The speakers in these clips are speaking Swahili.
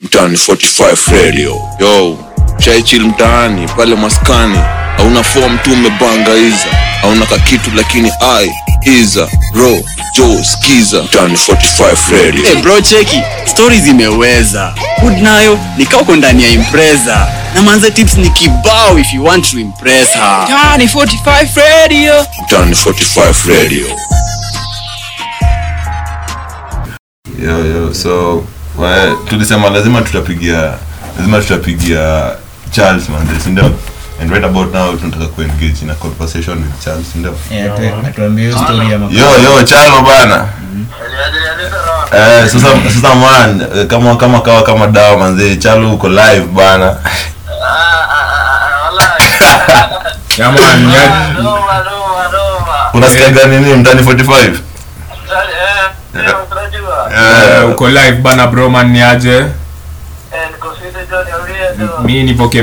mtaani 45 radio yo shaichil mtaani pale maskani hauna fom tu umebangaiza hauna kakitu lakini ai iza ro jo skiza mtaani Eh, 45 radio hey bro cheki stori zimeweza food nayo nikauko ndani ya impreza na manza tips ni kibao if you want to impress her Tani 45 Radio. mtaani 45 radio yo yo so we, tulisema lazima tutapigia lazima tutapigia charles manze sindio and right about now tunataka kuengage in a conversation with charles sindio atuambie hiyo story ya maka- yo yo chalo bana eh, sasa sasa man eh, kama kama kawa kama dawa manze chalo uko live bana Ya man, ya- unasikiaga nini mtani 45 eh, eh, uko live bana bro man ni aje mi nipoke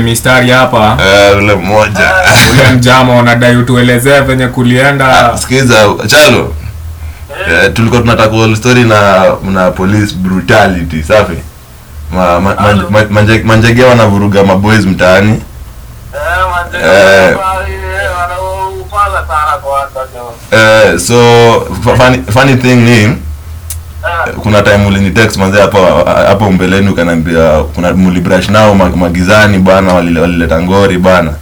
mistari hapa eh, ule mmoja ule mjama unadai utuelezee venye kulienda sikiza chalo Ah, eh, tulikuwa tunataka whole story na na police brutality safi ma, ma, ma, ma, manje- manjegea wanavuruga maboys mtaani eh, so fa- funny, funny thing ni kuna time ulini text manze hapo hapo mbeleni ukaniambia kuna mulibrush nao mag- magizani bana walile- walileta ngori bana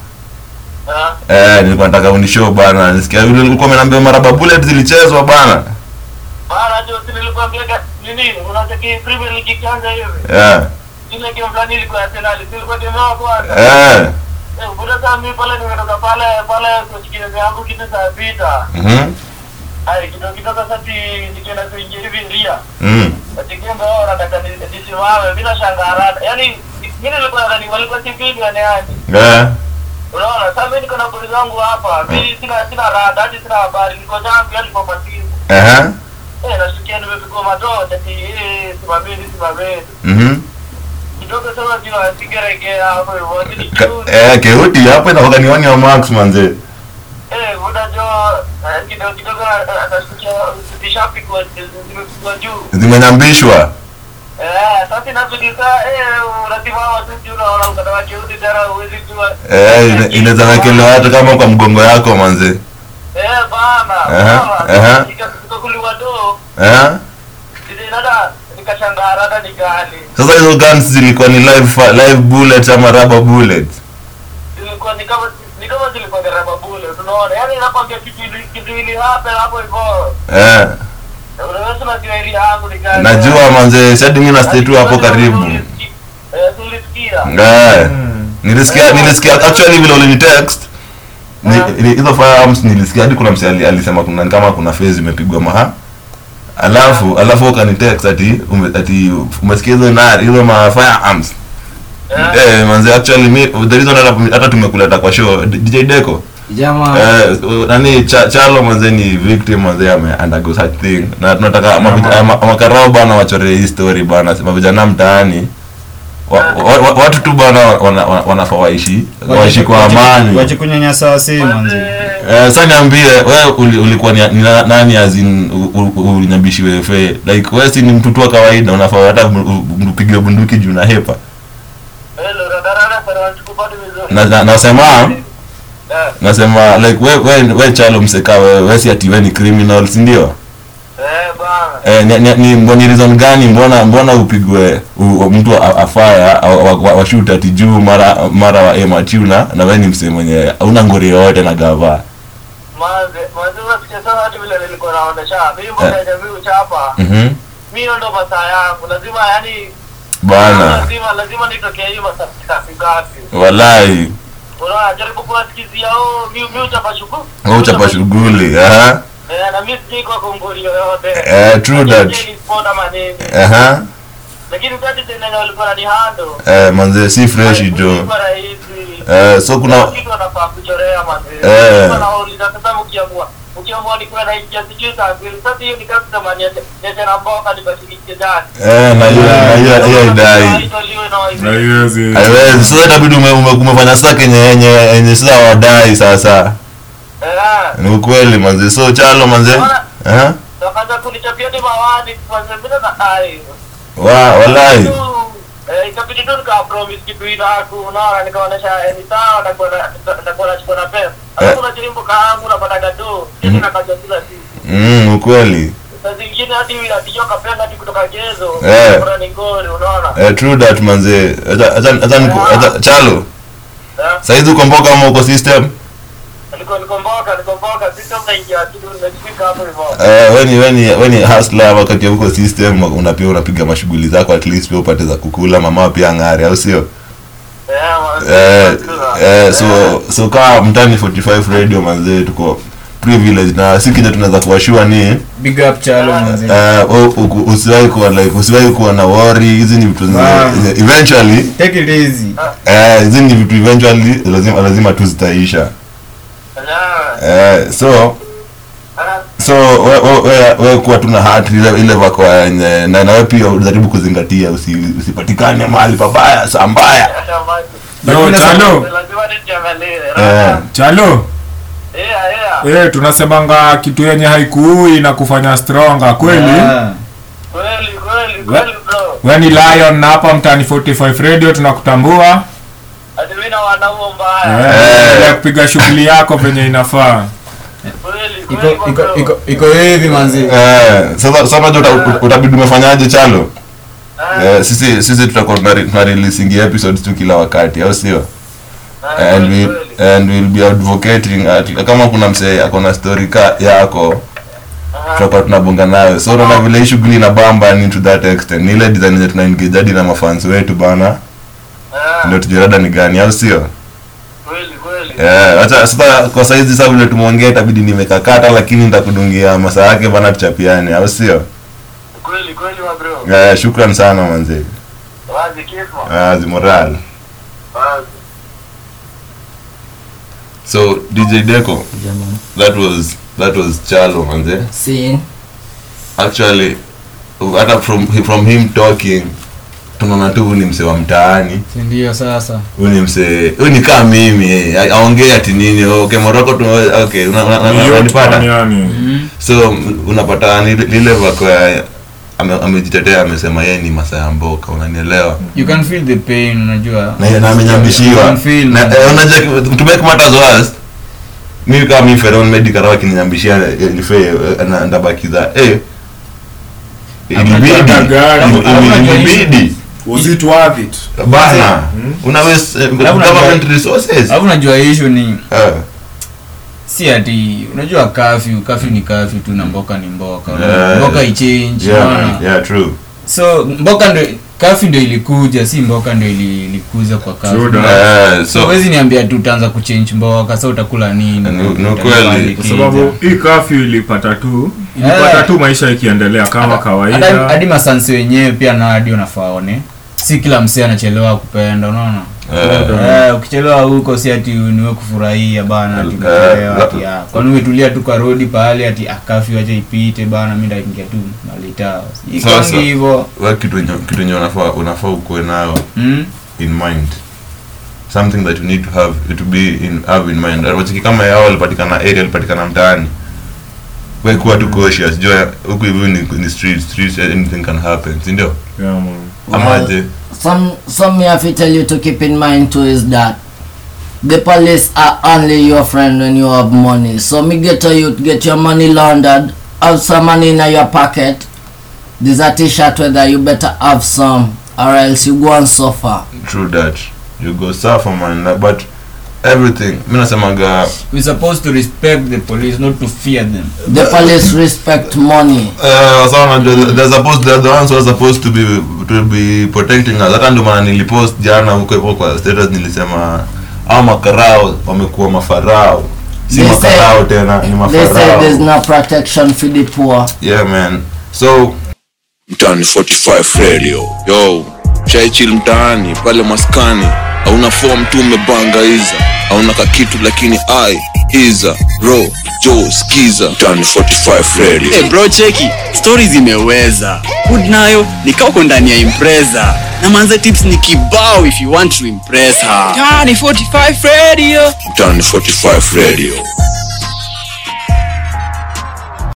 eh, nilikuwa nataka unishow bana nisikia vile ulikuwa umeniambia maraba bullet zilichezwa bana Bara ndio zile nilikwambia nini unataka Premier League ikianza hivi. eh, Ile game fulani ilikuwa Arsenal, ilikuwa game yao kwanza. eh, Eh, Buda kami pale nimetoka pale pale kwa chikizo yangu kitu saa sita. mhm, Ai kidogo kidogo sasa ti- nikienda kuingia hivi ndia. mm, Atikimba wao wanataka ni- nisimame bila shangarada. Yaani mimi nilikuwa nadhani walikuwa tipi yani yani. eh, Unaona sasa mimi niko na goli zangu hapa. Mimi sina sina rada, hadi sina habari. Niko zangu yani kwa matini. ehe, Eh nasikia nimepigwa madoa ati eh simameni simameni. mhm. kidogo sana ndio asigeregea hapo hivyo lakini Ka- juu eh, keuti hapo inakuwa ni one ya max manze eh unajua eh, kidogo kidogo eh, anasikia zishapigwa zimepigwa juu zimenyambishwa eh sasa inabidi saa eh unazima hawa tu juu unaona ukataka kiudi tena huwezi jua eh, ina- inaweza wekelewa hata kama kwa mgongo yako manze eh bana Aha, aha. ikakuliwa do eh? ile nada nikashangara hata nikali sasa hizo guns zilikuwa ni live, fi- live bullet ama rubber bullet zilikuwa ni kama ni kama zilikuwa garaba bule unaona yaani nakwambia kitu ili- kitu ili hapa hapo hivyo eh, unaweza unajua ili yangu Yaani nikali najua manze shadi mi nastay tu hapo karibu Eh, tulisikia. eh, nilisikia nilisikia actually vile ulinitext ni- ni- hizo firearms nilisikia hadi kuna msi alisema kuna kama kuna fez imepigwa maha alafu alafu ukanitext ati ume, ati umesikia hizo nari hizo ma firearms eh, manze actually mi the reason hata- hata tumekuleta kwa show D- DJ Deco jama Eh, nani cha, chalo manze ni victim manze ame undergo such thing na tunataka mavij- ama- makarao bana wachore hii story bana si mavijana mtaani wa, wa, wa, watu tu bana wanafaa wana, wana waishi waishi kwa Wache- amani wache kunyanyasa wasi manzi Eh, Eh, sa niambie we uli, ulikuwa ni, ni na- nani azin ulinyambishi wefe like we si ni mtutu wa kawaida unafaa hata upige bunduki juu na hepa eh, Lora Darara, sana wanachukua bado vizuri. na, na, nasema Eh, nasema like we, we, we chalo mseka we, we si ati we ni criminal sindio eh, bana. Eh, ni, ni, ni, mbo- ni reason gani mbona mbona upigwe u, u, mtu a- afaya washute ati juu mara mara wa emachuna na we ni msee mwenye una ngori yoyote na gava Maze- maze unasikia sana watu vile nilikuwa naonesha. Mimi mbona Eh. jamii uchapa? mm-hmm. Mimi hiyo ndo masaa yangu. Lazima yani, bana lazima- lazima nitokee hii masaa ngapi ngapi. walai Unaona, jaribu kuwasikizia, oh, mi- mi uchapa shughuli. we uchapa shughuli aha, Eh, na mi sijui kwa kunguri yoyote. Eh, true Lakini that. ni sport ama nini. aha. Lakini kati tena walikuwa wananihandle. Eh, manze si fresh jo Ilikuwa rahisi. eh, so kuna kitu anafaa kuchorea Eh. mazee anauliza sasa mkiamua ukiamua ni kwenda ingia sijui saa mbili sasa hiyo ni kazi kama nyetena mboka nibashirikie jani eh, na hiyo na hiyo- hiyo idai Haiwezi. haiwezi sasa itabidi ume- ume- umefanya saa kenye yenye yenye sasa wadai sasa ni ukweli manze so chalo manze aha. wakaanza kunichapia ni mawani kwanza mbele na hai wa walai Tu, eh, Eh, ikabidi tu nikawapromise kitu hii na watu unaona nikaonyesha eh, ni sawa nitakuwa na- nitakuwa nachukua na pesa Eh. alafu unajirimbo kaangu unapataga tu kitu nakajakila siku mm, ukweli saa zingine hadi atijo kapenda hadi kutoka gezo Eh. kuna ni ngori unaona eh, true that manze Acha- acha- acha niku- acha- chalo Eh, saizi uko mboka ama uko system niko nikomboka nikomboka system naingia kitu nimefika hapo hivyo eh, weni weni weni hasla wakati uko system una pia unapiga mashughuli zako at least pia upate za kukula mama pia ng'are au sio Eh, wa- eh, eh, Eh. so so kaa mtani 45 radio manzee tuko privilege na si kitu tunaweza kuwashua ni big up chalo manzi uh, usiwahi kuwa like usiwahi kuwa na worry hizi ni vitu Ah. zenye- eventually take it easy eh, hizi ni vitu eventually lazima lazima tu zitaisha Eh, eh, so eh. so we, we, we, we kuwa tuna hatri ile, ile wako yenye na nawe pia ujaribu kuzingatia usi, usipatikane mahali pabaya saa mbaya no chalo eh, chalo eh tunasemanga kitu yenye haikuui na kufanya stronger kweli Eh. Ah. we ni lion na hapa mtani 45 radio tunakutambua Eh. Eh, ya kupiga shughuli yako venye inafaa iko iko iko iko hivi manzi eh, sasa sasa je utabidi umefanyaje chalo eh, sisi sisi tutakuwa tunare- tunareleasing episodes tu kila wakati au sio Ah, Eh, and we'll, and we'll be advocating at, kama kuna msee ako na story ka yako tutakuwa tunabonga nayo so unaona vile hii shughuli na bamba ni to that extent ni ile design zetu na engage hadi na mafans wetu bana Eh, ndio tujirada ni gani au sio Eh, acha sasa kwa saizi sasa vile tumeongea itabidi nimekakata lakini nitakudungia masaa yake bana tuchapiane au sio eh, shukran sana manzee ah, zimoral so dj deco Jamani. that was that was chalo manze si actually hata from from him talking tunaona tu huyu ni msee wa mtaani si ndio sasa huyu ni msee huyu ni kaa mimi eh, a- aongee ati nini okay moroko tu okay una- una- una- Yote Eh, unanipata duniani. so m- unapata ni- lile vako ya- ame- amejitetea amesema yeye ni masaa ya mboka unanielewa you can feel the pain unajua na yeye na amenyambishiwa You can feel, Na, man. eh, unajua ki- to make matters worse mimi kama mimi Feron Medi Karawa akininyambishia eh, nife eh, na ndabakiza eh ilibidi Amepanda gari. ili- ili- ilibidi Was it worth it? bana una waste eh, Labda government unajua- resources alafu unajua issue ni Eh, si ati unajua kafyu kafyu ni kafyu tu na mboka ni mboka Yeah. mboka Eh. ichange yeah yeah. yeah true so mboka ndo kafyu ndo ilikuja si mboka ndo ili- ilikuza kwa True kafyu that. Eh, so so huwezi niambia tu utaanza kuchange mboka sa utakula nini Ni- ni Utakula ukweli. nini? kwa sababu hii kafyu ilipata tu ilipata Eh. tu maisha ikiendelea kama Hata- hadi kawaida masansi wenyewe pia na hadi unafaone si kila msee anachelewa kupenda unaona eh, Eh, ukichelewa huko si ati niwe kufurahia bana ati umechelewa, ati, ah, kwani umetulia tu kwa rodi pahali ati akafi acha ipite bana mi ndaingia tu malita Sasa. ikangi hivo wa kitu yenye- kitu yenye unafaa unafaa ukuwe nayo mm? in mind something that you need to have to be in have in mind wachiki kama yao walipatikana area walipatikana mtaani we kuwa tu cautious jua huku hivi ni, ni street street anything can happen si ndio Yeah, man. amaje Some some may have to tell you to keep in mind too is that the police are only your friend when you have money. So me get to you get your money laundered, have some money in your pocket. This a t-shirt whether you better have some or else you go and suffer. true that you go suffer man na- but everything mi nasemaga we supposed to respect the police not to fear them The police respect money. uh, sawa najua they're supposed they're the ones who are supposed to be to be protecting us hata ndio maana nilipost jana huko hivyo kwa status nilisema au makarao wamekuwa mafarao si They say- makarao tena ni They say mafarao there's no protection for the poor. yeah man so mtaani 45 radio yo shaichil mtaani pale maskani hauna fom tu umebanga iza hauna kakitu lakini ai iza ro jo skiza mtaani Eh, 45 radio Hey bro cheki stori zimeweza food nayo nikauko ndani ya impreza na manze tips ni kibao if you want to impress her Tiny 45 Radio. mtaani 45 radio